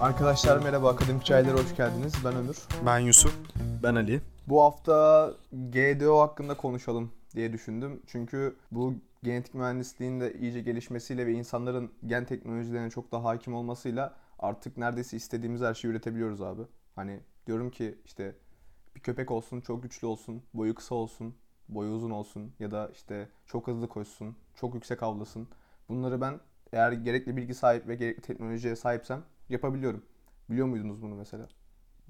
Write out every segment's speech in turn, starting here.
Arkadaşlar merhaba Akademik Çaylar'a hoş geldiniz. Ben Ömür. Ben Yusuf. Ben Ali. Bu hafta GDO hakkında konuşalım diye düşündüm. Çünkü bu genetik mühendisliğin de iyice gelişmesiyle ve insanların gen teknolojilerine çok daha hakim olmasıyla artık neredeyse istediğimiz her şeyi üretebiliyoruz abi. Hani diyorum ki işte bir köpek olsun, çok güçlü olsun, boyu kısa olsun, boyu uzun olsun ya da işte çok hızlı koşsun, çok yüksek avlasın. Bunları ben eğer gerekli bilgi sahip ve gerekli teknolojiye sahipsem yapabiliyorum. Biliyor muydunuz bunu mesela?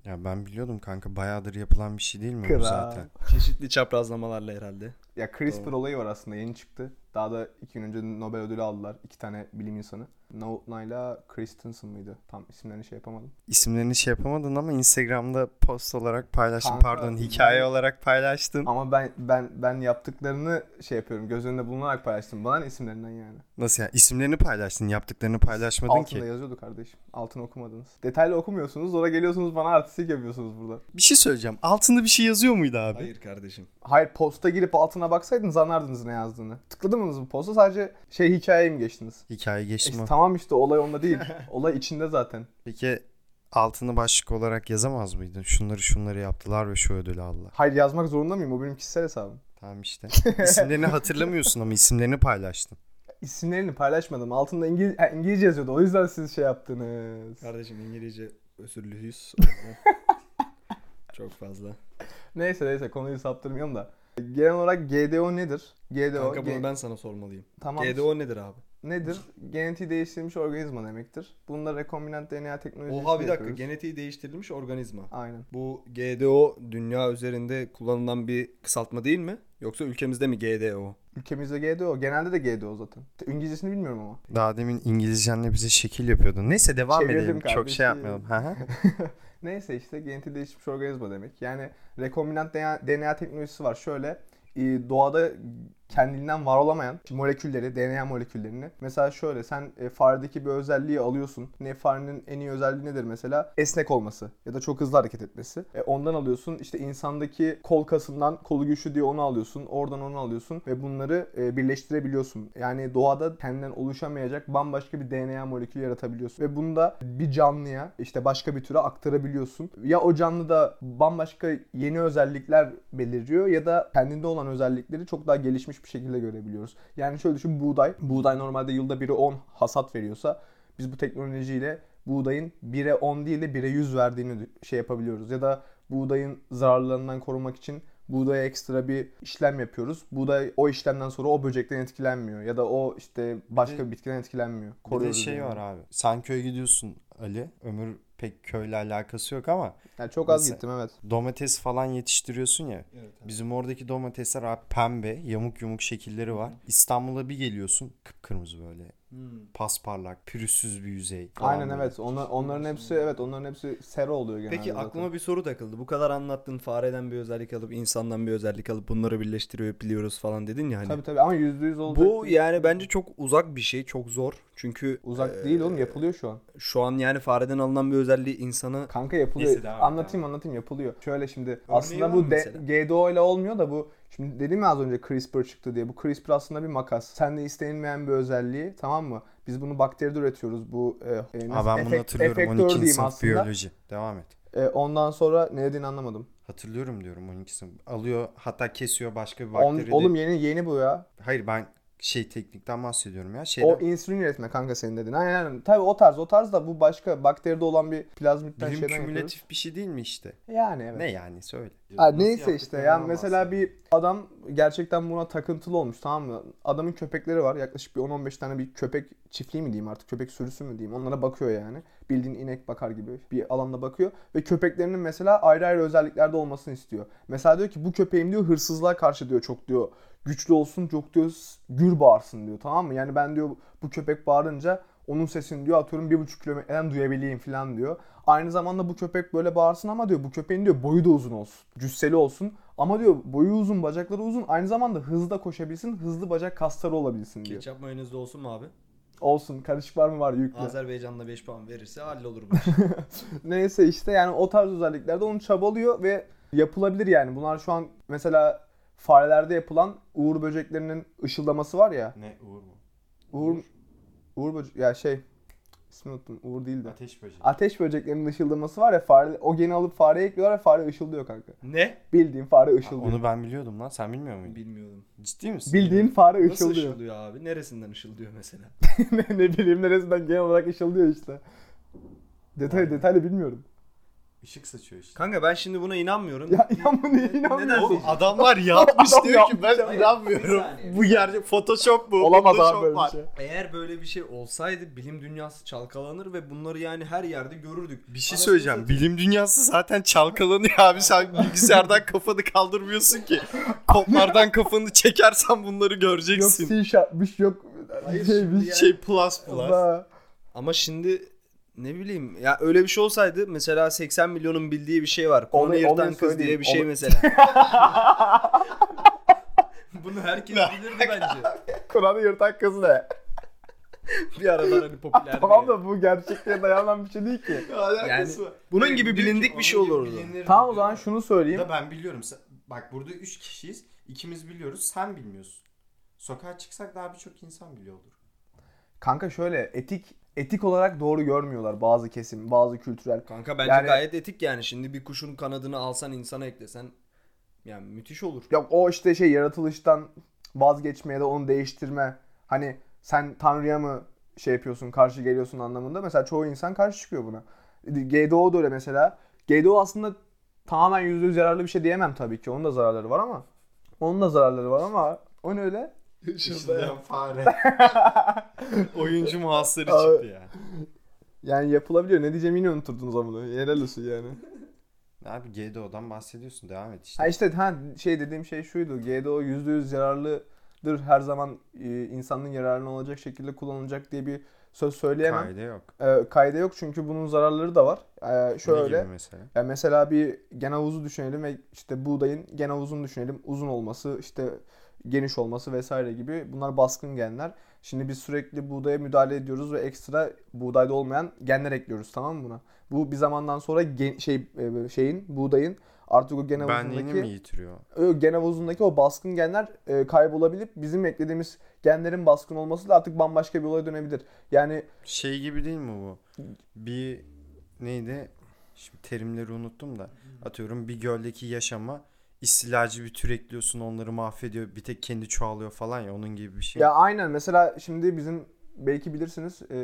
Ya ben biliyordum kanka bayağıdır yapılan bir şey değil mi Kral. bu zaten? Çeşitli çaprazlamalarla herhalde. Ya CRISPR Doğru. olayı var aslında yeni çıktı. Daha da iki gün önce Nobel ödülü aldılar. iki tane bilim insanı. Nautna'yla Christensen mıydı? Tam isimlerini şey yapamadım. İsimlerini şey yapamadın ama Instagram'da post olarak paylaştın. Kanka, Pardon hikaye ben- olarak paylaştın. Ama ben ben ben yaptıklarını şey yapıyorum. Göz önünde bulunarak paylaştım. Bana ne isimlerinden yani. Nasıl yani? İsimlerini paylaştın. Yaptıklarını paylaşmadın Altında ki. yazıyordu kardeşim. Altını okumadınız. Detaylı okumuyorsunuz. Sonra geliyorsunuz bana artistik yapıyorsunuz burada. Bir şey söyleyeceğim. Altında bir şey yazıyor muydu abi? Hayır kardeşim. Hayır posta girip altına baksaydınız anlardınız ne yazdığını. Tıkladınız bu posta sadece şey hikayeye mi geçtiniz? Hikaye E geçti işte mi? tamam işte olay onda değil. olay içinde zaten. Peki altını başlık olarak yazamaz mıydın? Şunları şunları yaptılar ve şu ödülü aldılar. Hayır yazmak zorunda mıyım? O benim kişisel hesabım. Tamam işte. İsimlerini hatırlamıyorsun ama isimlerini paylaştın. İsimlerini paylaşmadım. Altında İngiliz, ha, İngilizce yazıyordu. O yüzden siz şey yaptınız. Kardeşim İngilizce özürlüyüz. Çok fazla. Neyse neyse konuyu saptırmayalım da. Genel olarak GDO nedir? GDO Kanka bunu gen- ben sana sormalıyım. tamam. GDO nedir abi? nedir? Genetiği değiştirilmiş organizma demektir. Bununla rekombinant DNA teknolojisi Oha bir dakika şey yapıyoruz. genetiği değiştirilmiş organizma. Aynen. Bu GDO dünya üzerinde kullanılan bir kısaltma değil mi? Yoksa ülkemizde mi GDO? Ülkemizde GDO. Genelde de GDO zaten. Te- İngilizcesini bilmiyorum ama. Daha demin İngilizcenle bize şekil yapıyordun. Neyse devam Çevirdim edelim. Çok kardeşim. şey yapmayalım. Hı hı. Neyse işte genetiği değişmiş organizma demek. Yani rekombinant DNA, DNA teknolojisi var. Şöyle e, doğada kendiliğinden var olamayan molekülleri, DNA moleküllerini. Mesela şöyle sen e, faredeki bir özelliği alıyorsun. Ne farenin en iyi özelliği nedir mesela? Esnek olması ya da çok hızlı hareket etmesi. E, ondan alıyorsun. İşte insandaki kol kasından kolu güçlü diye onu alıyorsun. Oradan onu alıyorsun ve bunları e, birleştirebiliyorsun. Yani doğada kendinden oluşamayacak bambaşka bir DNA molekülü yaratabiliyorsun. Ve bunu da bir canlıya işte başka bir türe aktarabiliyorsun. Ya o canlıda bambaşka yeni özellikler beliriyor ya da kendinde olan özellikleri çok daha gelişmiş bir şekilde görebiliyoruz. Yani şöyle düşün buğday. Buğday normalde yılda biri 10 hasat veriyorsa biz bu teknolojiyle buğdayın 1'e 10 değil de 1'e 100 verdiğini şey yapabiliyoruz. Ya da buğdayın zararlarından korumak için buğdaya ekstra bir işlem yapıyoruz. Buğday o işlemden sonra o böcekten etkilenmiyor ya da o işte başka bir bitkiden etkilenmiyor. Bir de Koruyoruz şey yani. var abi. Sen köye gidiyorsun Ali. Ömür pek köyle alakası yok ama Yani çok az Mesela- gittim evet. domates falan yetiştiriyorsun ya. Evet. Bizim oradaki domatesler abi pembe, yamuk yumuk şekilleri var. İstanbul'a bir geliyorsun kıpkırmızı böyle. Hmm. Pasparlak, pürüzsüz bir yüzey. falan Aynen böyle. evet. Onlar, onların hepsi evet onların hepsi sera oluyor genelde. Peki zaten. aklıma bir soru takıldı. Bu kadar anlattın fareden bir özellik alıp insandan bir özellik alıp bunları birleştiriyor biliyoruz falan dedin ya hani. Tabii tabii ama %100 olacak. Bu değil. yani bence çok uzak bir şey, çok zor. Çünkü uzak e, değil oğlum yapılıyor şu an. Şu an yani fareden alınan bir özelliği insana Kanka yapılıyor. Neyse, devam et, anlatayım anlatayım yapılıyor. Şöyle şimdi aslında var bu mı de- mesela? GDO ile olmuyor da bu şimdi dedim ya az önce CRISPR çıktı diye. Bu CRISPR aslında bir makas. Sende istenilmeyen bir özelliği tamam mı? Biz bunu bakteride üretiyoruz. Bu e, e, Ha nasıl- ben bunu efekt- hatırlıyorum. efektör 12. diyeyim sınıf aslında. biyoloji. Devam et. E, ondan sonra ne dediğini anlamadım. Hatırlıyorum diyorum 12. sınıf. Alıyor hatta kesiyor başka bir On- bakteri de- oğlum yeni yeni bu ya. Hayır ben şey teknikten bahsediyorum ya. Şeyden, O insülin üretme kanka senin dedin. Aynen aynen. Tabii o tarz o tarz da bu başka bakteride olan bir plazmitten bilim şeyden kümülatif yapıyoruz. bir şey değil mi işte? Yani evet. Ne yani söyle. Ha, Nasıl neyse işte ya yaptıklarından mesela bahsediyorum. bir adam gerçekten buna takıntılı olmuş tamam mı? Adamın köpekleri var yaklaşık bir 10-15 tane bir köpek çiftliği mi diyeyim artık köpek sürüsü mü diyeyim onlara bakıyor yani. Bildiğin inek bakar gibi bir alanda bakıyor ve köpeklerinin mesela ayrı ayrı özelliklerde olmasını istiyor. Mesela diyor ki bu köpeğim diyor hırsızlığa karşı diyor çok diyor güçlü olsun çok diyor s- gür bağırsın diyor tamam mı? Yani ben diyor bu köpek bağırınca onun sesini diyor atıyorum 1,5 kilometreden duyabileyim falan diyor. Aynı zamanda bu köpek böyle bağırsın ama diyor bu köpeğin diyor boyu da uzun olsun. Cüsseli olsun. Ama diyor boyu uzun, bacakları uzun. Aynı zamanda hızlı koşabilsin, hızlı bacak kasları olabilsin diyor. ketçap mayonezli olsun mu abi? Olsun karışık var mı var yükle. Azerbaycan'da 5 puan verirse hallolur bu iş. Neyse işte yani o tarz özelliklerde onu çabalıyor ve yapılabilir yani. Bunlar şu an mesela farelerde yapılan uğur böceklerinin ışıldaması var ya. Ne Uğur mu? Uğur, uğur böcek ya şey İsmini unuttum. Uğur değil de. Ateş böceği. Ateş böceklerinin ışıldaması var ya fare, o geni alıp fareye ekliyorlar ve fare ışıldıyor kanka. Ne? Bildiğin fare Ha, ışıldıyor. Onu ben biliyordum lan. Sen bilmiyor muydun? Bilmiyorum. Ciddi misin? Bildiğin fare Nasıl ışıldıyor. ışıldıyor abi? Neresinden ışıldıyor mesela? ne, ne bileyim neresinden genel olarak ışıldıyor işte. Detay detaylı bilmiyorum. Işık saçıyor işte. Kanka ben şimdi buna inanmıyorum. Ya inan bunu Neden? inanmıyorsun. Oğlum, Adamlar yapmış Adam diyor ki yapmış ben inanmıyorum. saniye. Bu gerçek Photoshop bu. Olamaz Photoshop abi böyle bir var. şey. Eğer böyle bir şey olsaydı bilim dünyası çalkalanır ve bunları yani her yerde görürdük. Bir şey söyleyeceğim. Bilim dünyası zaten çalkalanıyor abi. Sen bilgisayardan kafanı kaldırmıyorsun ki. Kodlardan kafanı çekersen bunları Yok göreceksin. C şartmış yok Hayır, şeymiş. şimdi Şey plus plus. Ba- Ama şimdi ne bileyim ya öyle bir şey olsaydı mesela 80 milyonun bildiği bir şey var. Konu Olayı- yırtan olayı kız diye söyleyeyim. bir şey Olay- mesela. Bunu herkes bilirdi bence. Kur'an'ı yırtan kız ne? Bir aralar hani popülerdi. Tamam da bu gerçekliğe dayanan bir şey değil ki. Yani bunun gibi bilindik bir şey olurdu. Tamam o zaman şunu söyleyeyim. Da ben biliyorum. Sen- Bak burada 3 kişiyiz. İkimiz biliyoruz. Sen bilmiyorsun. Sokağa çıksak daha birçok insan biliyordur. Kanka şöyle etik etik olarak doğru görmüyorlar bazı kesim, bazı kültürel. Kanka bence Yani- gayet etik yani. Şimdi bir kuşun kanadını alsan insana eklesen yani müthiş olur. Yok o işte şey yaratılıştan vazgeçme ya da onu değiştirme. Hani sen Tanrı'ya mı şey yapıyorsun, karşı geliyorsun anlamında. Mesela çoğu insan karşı çıkıyor buna. GDO da öyle mesela. GDO aslında tamamen %100 yararlı bir şey diyemem tabii ki. Onun da zararları var ama. Onun da zararları var ama o ne öyle? Işıldayan fare. Oyuncu muhasırı Abi. çıktı yani. Yani yapılabiliyor. Ne diyeceğimi yine unuturdunuz ama. Helal olsun yani. Abi GDO'dan bahsediyorsun. Devam et işte. Ha işte ha şey dediğim şey şuydu. GDO %100 yararlıdır. Her zaman e, insanın yararına olacak şekilde kullanılacak diye bir söz söyleyemem. Kayda yok. E, kayda yok çünkü bunun zararları da var. E, şöyle Ne gibi mesela? ya mesela bir gen havuzu düşünelim ve işte buğdayın gen havuzunu düşünelim. Uzun olması, işte geniş olması vesaire gibi. Bunlar baskın genler. Şimdi biz sürekli buğdaya müdahale ediyoruz ve ekstra buğdayda olmayan genler ekliyoruz tamam mı buna? Bu bir zamandan sonra gen, şey e, şeyin buğdayın artık o gen Benliğini mi havuzundaki yitiriyor? ö, gen havuzundaki o baskın genler e, kaybolabilip bizim eklediğimiz genlerin baskın olması da artık bambaşka bir olaya dönebilir. Yani Şey gibi değil mi bu? Bir neydi? Şimdi terimleri unuttum da. Atıyorum bir göldeki yaşama istilacı bir tür ekliyorsun onları mahvediyor. Bir tek kendi çoğalıyor falan ya onun gibi bir şey. Ya aynen mesela şimdi bizim belki bilirsiniz e,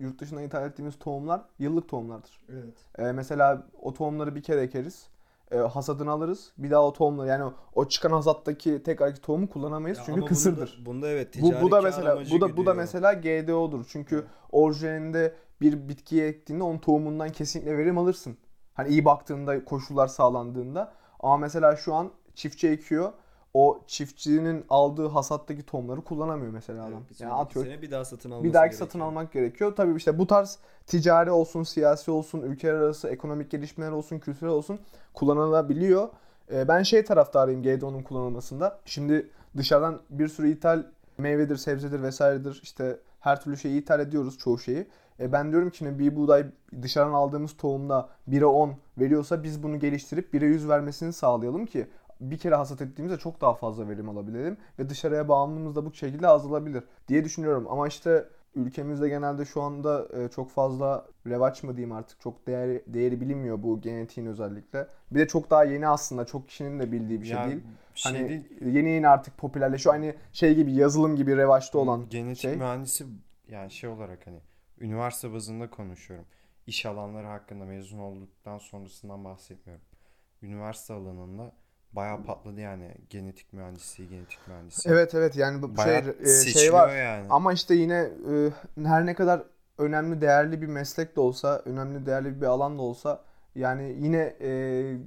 yurt dışından ithal ettiğimiz tohumlar yıllık tohumlardır. Evet. E, mesela o tohumları bir kere ekeriz. E, hasadını alırız. Bir daha o tohumları yani o, o çıkan hasattaki tekrarki tohumu kullanamayız Ya ama çünkü bunda- kısırdır. Bunda, evet Bu ticari bu da kar mesela amacı bu da bu da güdüyor. mesela GDO'dur. Çünkü orijinalinde bir bitkiye ektiğinde onun tohumundan kesinlikle verim alırsın. Hani iyi baktığında, koşullar sağlandığında. Ama mesela şu an çiftçi ekiyor. O çiftçinin aldığı hasattaki tohumları kullanamıyor mesela Evet, adam. bir Yani sonraki atıyor sene bir daha satın alması bir dahaki gerekiyor. satın almak gerekiyor. Tabii işte bu tarz ticari olsun, siyasi olsun, ülkeler arası ekonomik gelişmeler olsun, kültürel olsun kullanılabiliyor. Ee, ben şey taraftarıyım GDO'nun kullanılmasında. Şimdi dışarıdan bir sürü ithal meyvedir, sebzedir vesairedir işte her türlü şeyi ithal ediyoruz çoğu şeyi. E ben diyorum ki şimdi bir buğday dışarıdan aldığımız tohumda 1'e 10 veriyorsa biz bunu geliştirip 1'e 100 vermesini sağlayalım ki bir kere hasat ettiğimizde çok daha fazla verim alabilelim ve dışarıya bağımlılığımız da bu şekilde azalabilir diye düşünüyorum. Ama işte ülkemizde genelde şu anda e, çok fazla revaç mı diyeyim artık çok değeri, değeri bilinmiyor bu genetiğin özellikle. Bir de çok daha yeni aslında çok kişinin de bildiği bir şey Ya değil. şey hani değil. yeni yeni artık popülerleşiyor. Hani şey gibi yazılım gibi revaçta olan genetik şey. mühendisi yani şey olarak hani üniversite bazında konuşuyorum. İş alanları hakkında mezun olduktan sonrasından bahsetmiyorum. Üniversite alanında bayağı patladı yani genetik mühendisi, genetik mühendisi. Evet evet yani bu şey, Bayağı e, şey seçiliyor var. yani. Ama işte yine e, her ne kadar önemli değerli bir meslek de olsa, önemli değerli bir alan da olsa yani yine e,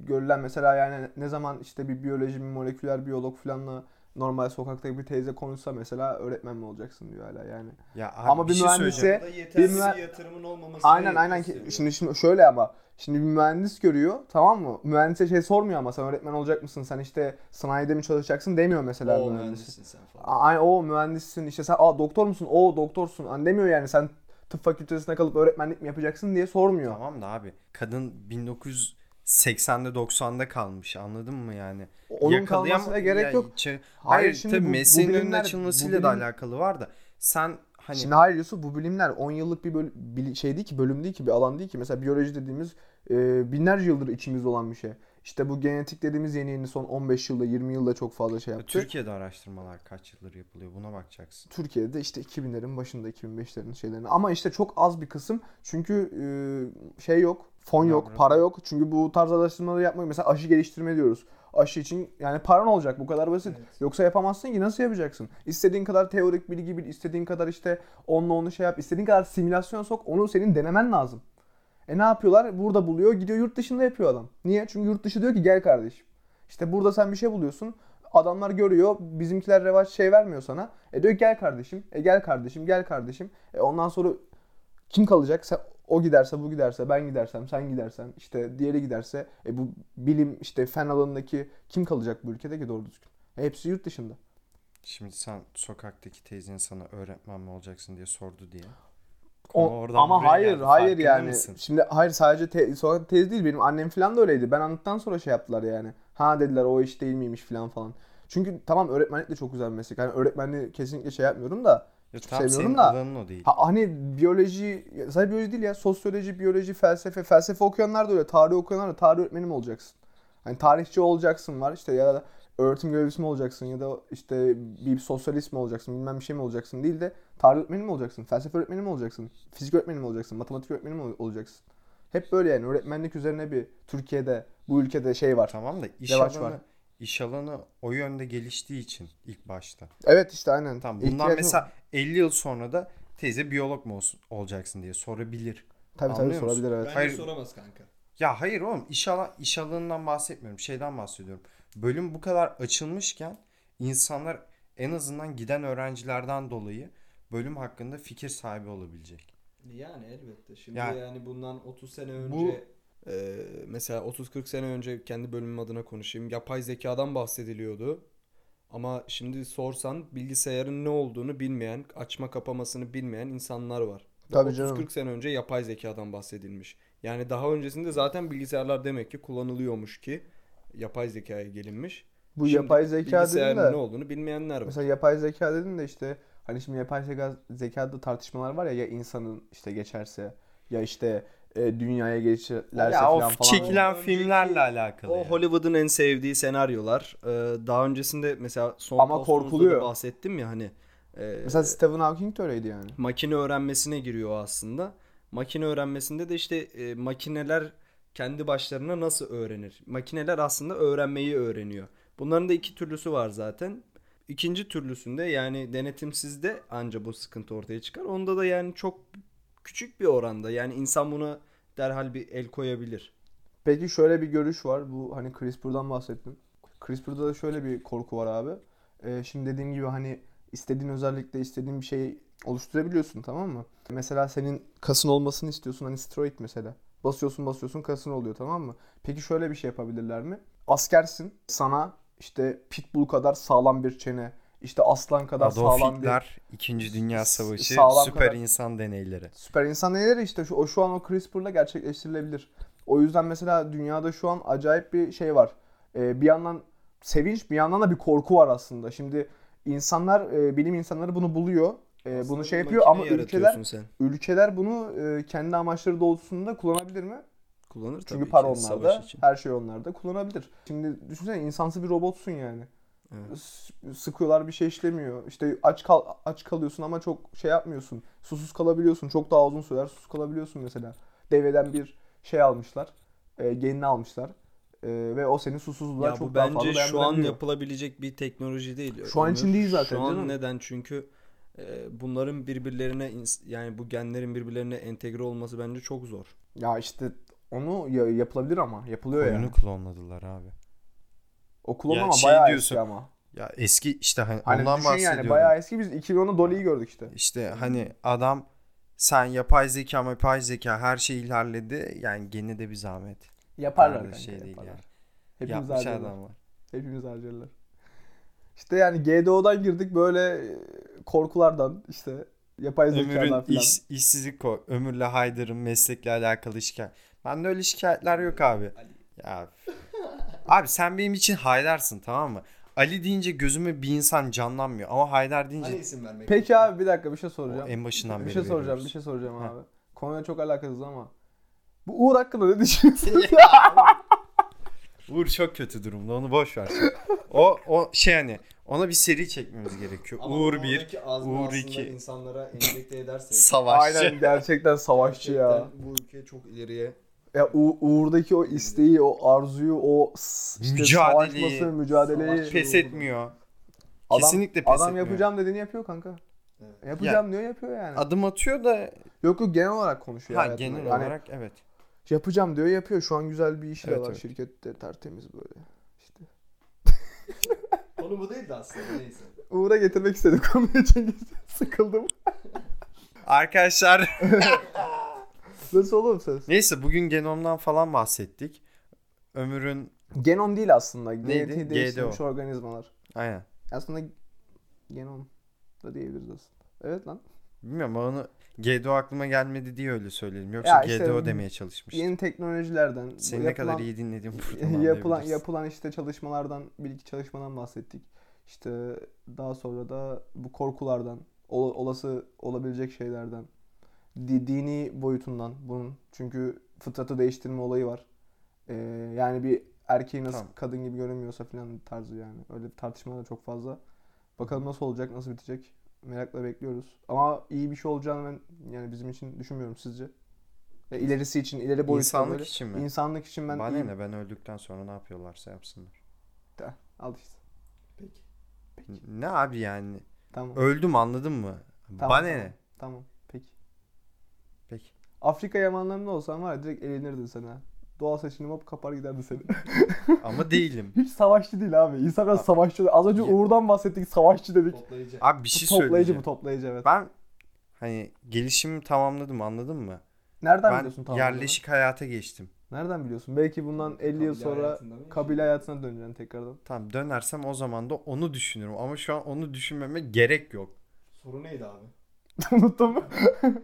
görülen mesela yani ne zaman işte bir biyoloji, bir moleküler biyolog falanla normal sokaktaki bir teyze konuşsa mesela öğretmen mi olacaksın diyor hala yani. Ya abi Ama bir şey mühendisi- söyleyeceğim. Burada yetersiz mühe- yatırımın olmaması. Aynen aynen ki şimdi şimdi şöyle ama şimdi bir mühendis görüyor tamam mı? Mühendise şey sormuyor ama sen öğretmen olacak mısın? Sen işte sanayide mi çalışacaksın demiyor mesela o mühendis. mühendisin sen falan. Ay o mühendissin işte sen aa doktor musun? O doktorsun. Hani demiyor yani sen tıp fakültesine kalıp öğretmenlik mi yapacaksın diye sormuyor. Tamam da abi kadın 1980'de 90'da kalmış anladın mı yani? Onun Yakalayam- kalmasına gerek Ya yok. çe- Hayır, Hayır, şimdi tabii bu- bu mesleğin önünün bilimler- açılmasıyla bu da bilim- alakalı var da sen Hani Şimdi hayır Yusuf bu bilimler 10 yıllık bir, böl- bir şey değil ki bölüm değil ki bir alan değil ki. Mesela biyoloji dediğimiz e, binlerce yıldır içimizde olan bir şey. İşte bu genetik dediğimiz yeni yeni son 15 yılda 20 yılda çok fazla şey yaptı. Türkiye'de araştırmalar kaç yıldır yapılıyor buna bakacaksın. Türkiye'de işte 2000'lerin başında 2005'lerin şeylerini ama işte çok az bir kısım çünkü e, şey yok, fon yok, Yavrum. para yok. Çünkü bu tarz araştırmaları yapmak mesela aşı geliştirme diyoruz. Aşı için yani paran olacak bu kadar basit. Yoksa yapamazsın ki nasıl yapacaksın? İstediğin kadar teorik bilgi bil, istediğin kadar işte onunla onu şey yap, istediğin kadar simülasyon sok onu senin denemen lazım. E ne yapıyorlar? Burada buluyor gidiyor yurt dışında yapıyor adam. Niye? Çünkü yurt dışı diyor ki gel kardeşim. İşte burada sen bir şey buluyorsun. Adamlar görüyor. Bizimkiler revaç şey vermiyor sana. E diyor ki, gel kardeşim. E gel kardeşim. Gel kardeşim. E ondan sonra kim kalacak? Sen, o giderse, bu giderse, ben gidersem, sen gidersen, işte diğeri giderse. E bu bilim işte fen alanındaki kim kalacak bu ülkede ki doğru düzgün? E hepsi yurt dışında. Şimdi sen sokaktaki teyzen sana öğretmen mi olacaksın diye sordu diye. O- Konu oradan ama buraya hayır geldi. hayır Farkında yani. mısın? Şimdi hayır sadece te, sokak tez değil benim annem falan da öyleydi. Ben anlattıktan sonra şey yaptılar yani. Ha dediler o iş değil miymiş falan falan. Çünkü tamam öğretmenlik de çok güzel bir meslek. Hani öğretmenliği kesinlikle şey yapmıyorum da. Ya Çok tam senin seviyorum da- alanın o değil. Ha, hani biyoloji, ya sadece biyoloji değil ya sosyoloji, biyoloji, felsefe. Felsefe okuyanlar da öyle. Tarih okuyanlar da tarih öğretmeni mi olacaksın? Hani tarihçi olacaksın var işte ya da öğretim görevlisi mi olacaksın ya da işte bir sosyalist mi olacaksın bilmem bir şey mi olacaksın değil de tarih öğretmeni mi olacaksın, felsefe öğretmeni mi olacaksın, fizik öğretmeni mi olacaksın, matematik öğretmeni mi ol- olacaksın? Hep böyle yani öğretmenlik üzerine bir Türkiye'de bu ülkede şey var. Tamam da iş Yavaş alanı, var. iş alanı o yönde geliştiği için ilk başta. Evet işte aynen. Tamam bundan İhtiyacın- mesela 50 yıl sonra da teyze biyolog mu olsun- olacaksın diye sorabilir. tabii tabii anlıyor musun? sorabilir evet. Bence Hayır. soramaz kanka. Ya hayır oğlum iş, ala- iş alanından bahsetmiyorum. Şeyden bahsediyorum. Bölüm bu kadar açılmışken insanlar en azından giden öğrencilerden dolayı bölüm hakkında fikir sahibi olabilecek. Yani elbette. Şimdi Ya- yani bundan 30 sene önce Bu- Ee, mesela 30-40 sene önce kendi bölümüm adına konuşayım. Yapay zekadan bahsediliyordu. Ama şimdi sorsan bilgisayarın ne olduğunu bilmeyen, açma kapamasını bilmeyen insanlar var. Ve Tabii canım. 30-40 sene önce yapay zekadan bahsedilmiş. Yani daha öncesinde zaten bilgisayarlar demek ki kullanılıyormuş ki yapay zekaya gelinmiş. Bu Şimdi yapay zeka bilgisayarın dedin de. ne olduğunu bilmeyenler var. Mesela yapay zeka dedin de işte hani şimdi yapay zeka, zekada tartışmalar var ya ya insanın işte geçerse ya işte e, dünyaya geçerlerse ya falan o falan. çekilen Önceki- filmlerle alakalı. O yani. Hollywood'un en sevdiği senaryolar. Ee, daha öncesinde mesela son Ama postumuzda da korkuluyor. bahsettim ya hani. e, Mesela Stephen Hawking de öyleydi yani. makine öğrenmesine giriyor o aslında. Makine öğrenmesinde de işte e, makineler kendi başlarına nasıl öğrenir? Makineler aslında öğrenmeyi öğreniyor. Bunların da iki türlüsü var zaten. İkinci türlüsünde yani denetimsizde anca bu sıkıntı ortaya çıkar. Onda da yani çok küçük bir oranda yani insan buna derhal bir el koyabilir. Peki şöyle bir görüş var. Bu hani CRISPR'dan bahsettim. CRISPR'da da şöyle bir korku var abi. Ee, şimdi dediğim gibi hani istediğin özellikle istediğin bir şeyi oluşturabiliyorsun tamam mı? Mesela senin kasın olmasını istiyorsun hani steroid mesela. Basıyorsun basıyorsun kasın oluyor tamam mı? Peki şöyle bir şey yapabilirler mi? Askersin sana işte pitbull kadar sağlam bir çene, işte aslan kadar Adolf sağlam bir Hitler, 2. Dünya Savaşı, sağlam süper kadar- insan deneyleri. Süper insan neleri işte şu, o şu an o CRISPR'la gerçekleştirilebilir. O yüzden mesela dünyada şu an acayip bir şey var. Ee, bir yandan sevinç bir yandan da bir korku var aslında. Şimdi insanlar e, bilim insanları bunu buluyor. e, bunu Aslında şey bir yapıyor ama Makine ülkeler yaratıyorsun sen. ülkeler bunu e, kendi amaçları doğrultusunda kullanabilir mi? Kullanır tabii Çünkü para ki onlarda, savaş için. her şey onlarda kullanabilir. Şimdi düşünsene insansı bir robotsun yani. Evet. S- sıkıyorlar bir şey işlemiyor. İşte aç kal aç kalıyorsun ama çok şey yapmıyorsun. Susuz kalabiliyorsun. Çok daha uzun sürer susuz kalabiliyorsun mesela. Deveden bir şey almışlar. E, genini almışlar. E, ve o seni susuzluğa Ya çok bu daha fazla bence şu an dayandırabiliyor. yapılabilecek bir teknoloji değil. Şu an Ömür. için değil zaten, Şu an canım. neden? Çünkü e, bunların birbirlerine ins- yani bu genlerin birbirlerine entegre olması bence çok zor. Ya işte onu ya- yapılabilir ama. Yapılıyor ya. Oyunu klonladılar abi. O klon Ya ama şey bayağı diyorsun, eski ama. Ya eski işte hani, Hani ondan düşün bahsediyorum. yani bayağı eski biz 2010'da Dolly'yi gördük işte. İşte hani adam sen yapay zeka yapay zeka her şey ilerledi. Yani gene de bir zahmet. Yaparlar Yani kanka, şey değil yaparlar. yani. Hepimiz Yapmış harcıyorlar. adamlar. Hepimiz harcarlar. İşte yani GDO'dan girdik böyle e, korkulardan işte yapay zekadan Ömür'ün filan. iş, işsizlik ko- Ömür'le Haydar'ın meslekle alakalı şikayet. Bende öyle şikayetler yok abi. Ali. Ya. abi sen benim için Haydar'sın tamam mı? Ali deyince gözüme bir insan canlanmıyor ama Haydar deyince Hani isim vermek. Peki abi bir dakika bir şey o soracağım. en başından beri Bir şey soracağım, veriyoruz. bir şey soracağım Heh. abi. Konuya çok alakasız ama. Bu Uğur hakkında ne düşünüyorsun? şey- Uğur çok kötü durumda onu boş ver. şimdi. o o şey hani ona bir seri çekmemiz gerekiyor. Ama Uğur oradaki 1, azmi Uğur aslında iki. insanlara enjekte edersek. Savaşçı. Aynen gerçekten savaşçı ya. gerçekten Bu ülke çok ileriye. Ya U- Uğur'daki o isteği, o arzuyu, o s- işte Mücadeleyi. savaşması, mücadeleyi. Savaş- Pes etmiyor. Adam- Kesinlikle pes Adam etmiyor. yapacağım dediğini yapıyor kanka. Evet. Yapacağım diyor yapıyor yani. Adım atıyor da yok yok genel olarak konuşuyor. ha, hayatında. Hani genel Yani olarak evet. Yapacağım diyor yapıyor. Şu an güzel bir işi de Evet, var evet. şirkette tertemiz böyle. İşte. Konu bu değildi aslında neyse. Uğur'a getirmek istedim konuyu çünkü sıkıldım. Arkadaşlar Nasıl oğlum söz? Neyse bugün genomdan falan bahsettik. Ömür'ün Genom değil aslında. Genetiği Neydi? değiştirilmiş GDO. organizmalar. aynen. Aslında genom da diyebiliriz aslında. Evet lan. Bilmiyorum ama onu GDO aklıma gelmedi diye öyle söyledim. Yoksa Ya işte GDO demeye çalışmıştım. Yeni teknolojilerden. bu Seni ne kadar iyi dinlediğim buradan yapılan, anlayabilirsin. yapılan işte çalışmalardan, bir iki çalışmadan bahsettik. İşte daha sonra da bu korkulardan, ol- olası olabilecek şeylerden, di- dini boyutundan bunun. Çünkü fıtratı değiştirme olayı var. Ee, yani bir erkeği nasıl Tamam. kadın gibi görünmüyorsa falan tarzı yani. Öyle bir tartışma da çok fazla. Bakalım nasıl olacak, nasıl bitecek. Merakla bekliyoruz. Ama iyi bir şey olacağını ben yani bizim için düşünmüyorum sizce. Ya ilerisi için, ileri boyutları. İnsanlık için mi? İnsanlık için ben Bana iyi- ne ben öldükten sonra ne yapıyorlarsa yapsınlar. Ta, al işte. Peki. Ne abi yani? Tamam. Öldüm anladın mı? tamam, Bana tamam. ne? Tamam. Peki. Peki. Afrika yamanlarında olsan var ya direkt elenirdin sen ha. Doğal seçilim hop kapar giderdi seni. Ama değilim. Hiç savaşçı değil abi. İnsan biraz savaşçı. Az önce Ya- Uğur'dan bahsettik. Savaşçı dedik. Toplayıcı. Abi bir Bu şey toplayıcı söyleyeceğim. bu toplayıcı evet. Ben hani gelişimimi tamamladım anladın mı? Nereden Ben biliyorsun tamam? yerleşik hayata geçtim. Nereden biliyorsun? Belki bundan 50 Kabile yıl sonra hayatında mı kabile hayatına döneceksin tekrardan. Tamam dönersem o zaman da onu düşünürüm. Ama şu an onu düşünmeme gerek yok. Soru neydi abi? Unuttun mu?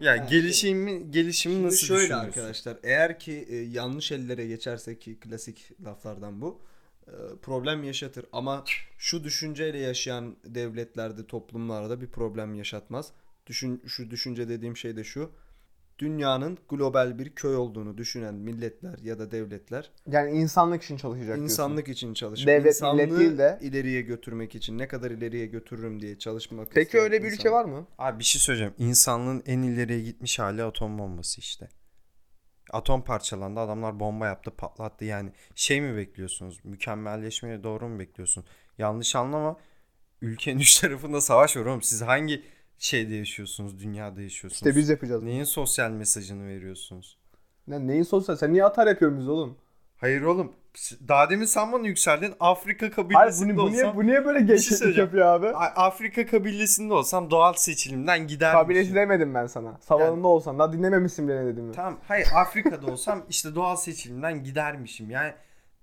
Ya Ha, gelişimi gelişimi Şimdi nasıl şöyle düşünüyorsun? arkadaşlar eğer ki e, yanlış ellere geçerse ki klasik laflardan bu e, problem yaşatır ama şu düşünceyle yaşayan devletlerde toplumlarda bir problem yaşatmaz. Düşün şu düşünce dediğim şey de şu. Dünyanın global bir köy olduğunu düşünen milletler ya da devletler Yani insanlık için çalışacak diyorsun. insanlık için çalışıp Devlet, millet insanlığı değil de- ileriye götürmek için ne kadar ileriye götürürüm diye çalışmak Peki isteyen öyle bir ülke insan- var mı? Abi bir şey söyleyeceğim. İnsanlığın en ileriye gitmiş hali atom bombası işte. Atom parçalandı. Adamlar bomba yaptı, patlattı. Yani şey mi bekliyorsunuz? Mükemmelleşmeyi doğru mu bekliyorsun? Yanlış anlama. Ülkenin üç tarafında savaş var oğlum. Siz hangi şeyde yaşıyorsunuz? Dünyada yaşıyorsunuz? İşte biz yapacağız. Neyin sosyal mesajını veriyorsunuz? Ne, neyin sosyal? Sen niye atar yapıyorsun biz oğlum? Hayır oğlum. Daha demin sen bana yükseldin. Afrika Hayır kabilesinde bu, bu, niye, olsam... bu niye böyle gevşeklik söyleyeceğim. yapıyor abi? A- Afrika kabilesinde olsam doğal seçilimden gidermişim. Kabilesi demedim ben sana. Savanında olsan daha dinlememişsin bile ne dedim. ben. Tamam. Hayır Afrika'da olsam işte doğal seçilimden gidermişim. Yani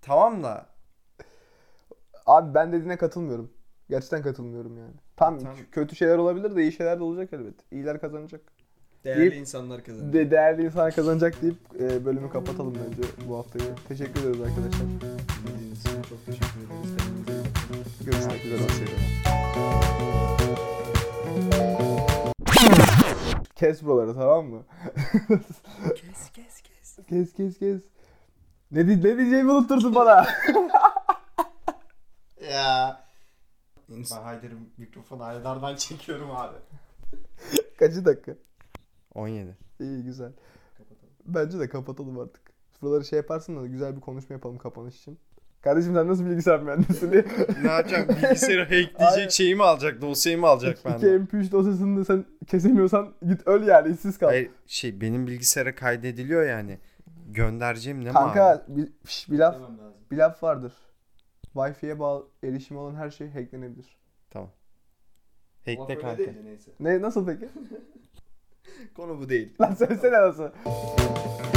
tamam da Abi ben dediğine katılmıyorum. Gerçekten katılmıyorum yani. Tam Tamam. k- kötü şeyler olabilir de iyi şeyler de olacak elbet. İyiler kazanacak. Değerli insanlar kazanır. De değerli insan kazanacak deyip e, bölümü kapatalım bence bu haftayı. Teşekkür ederiz arkadaşlar. Dinlediğiniz için çok teşekkür ederiz. Kendinize iyi bakın. Görüşmek üzere. Kes buraları tamam mı? kes kes kes. Kes kes kes. Ne, di- ne diyeceğimi unutturdun bana. Ya. İns- Ben Haydar'ın mikrofonu Haydar'dan çekiyorum abi. Kaçı dakika? 17. İyi güzel. Bence de kapatalım artık. Buraları şey yaparsın da güzel bir konuşma yapalım kapanış için. Kardeşim sen nasıl bilgisayar mühendisliği? ne yapacağım? Bilgisayarı Aynen. hackleyecek şeyi mi alacak? Dosyayı mı alacak İki benden? MP3 dosyasını da sen kesemiyorsan git öl yani işsiz kal. Hayır şey benim bilgisayara kaydediliyor yani. Göndereceğim ne mavi? Kanka bir, şş, bir laf Demem lazım. bir laf vardır. Wi-Fi'ye bağlı erişimi olan her şey hacklenebilir. Tamam. Ama Hackle böyle kanka. değildi neyse. Ne nasıl peki? Konu bu değil. Lan söylesene nasıl?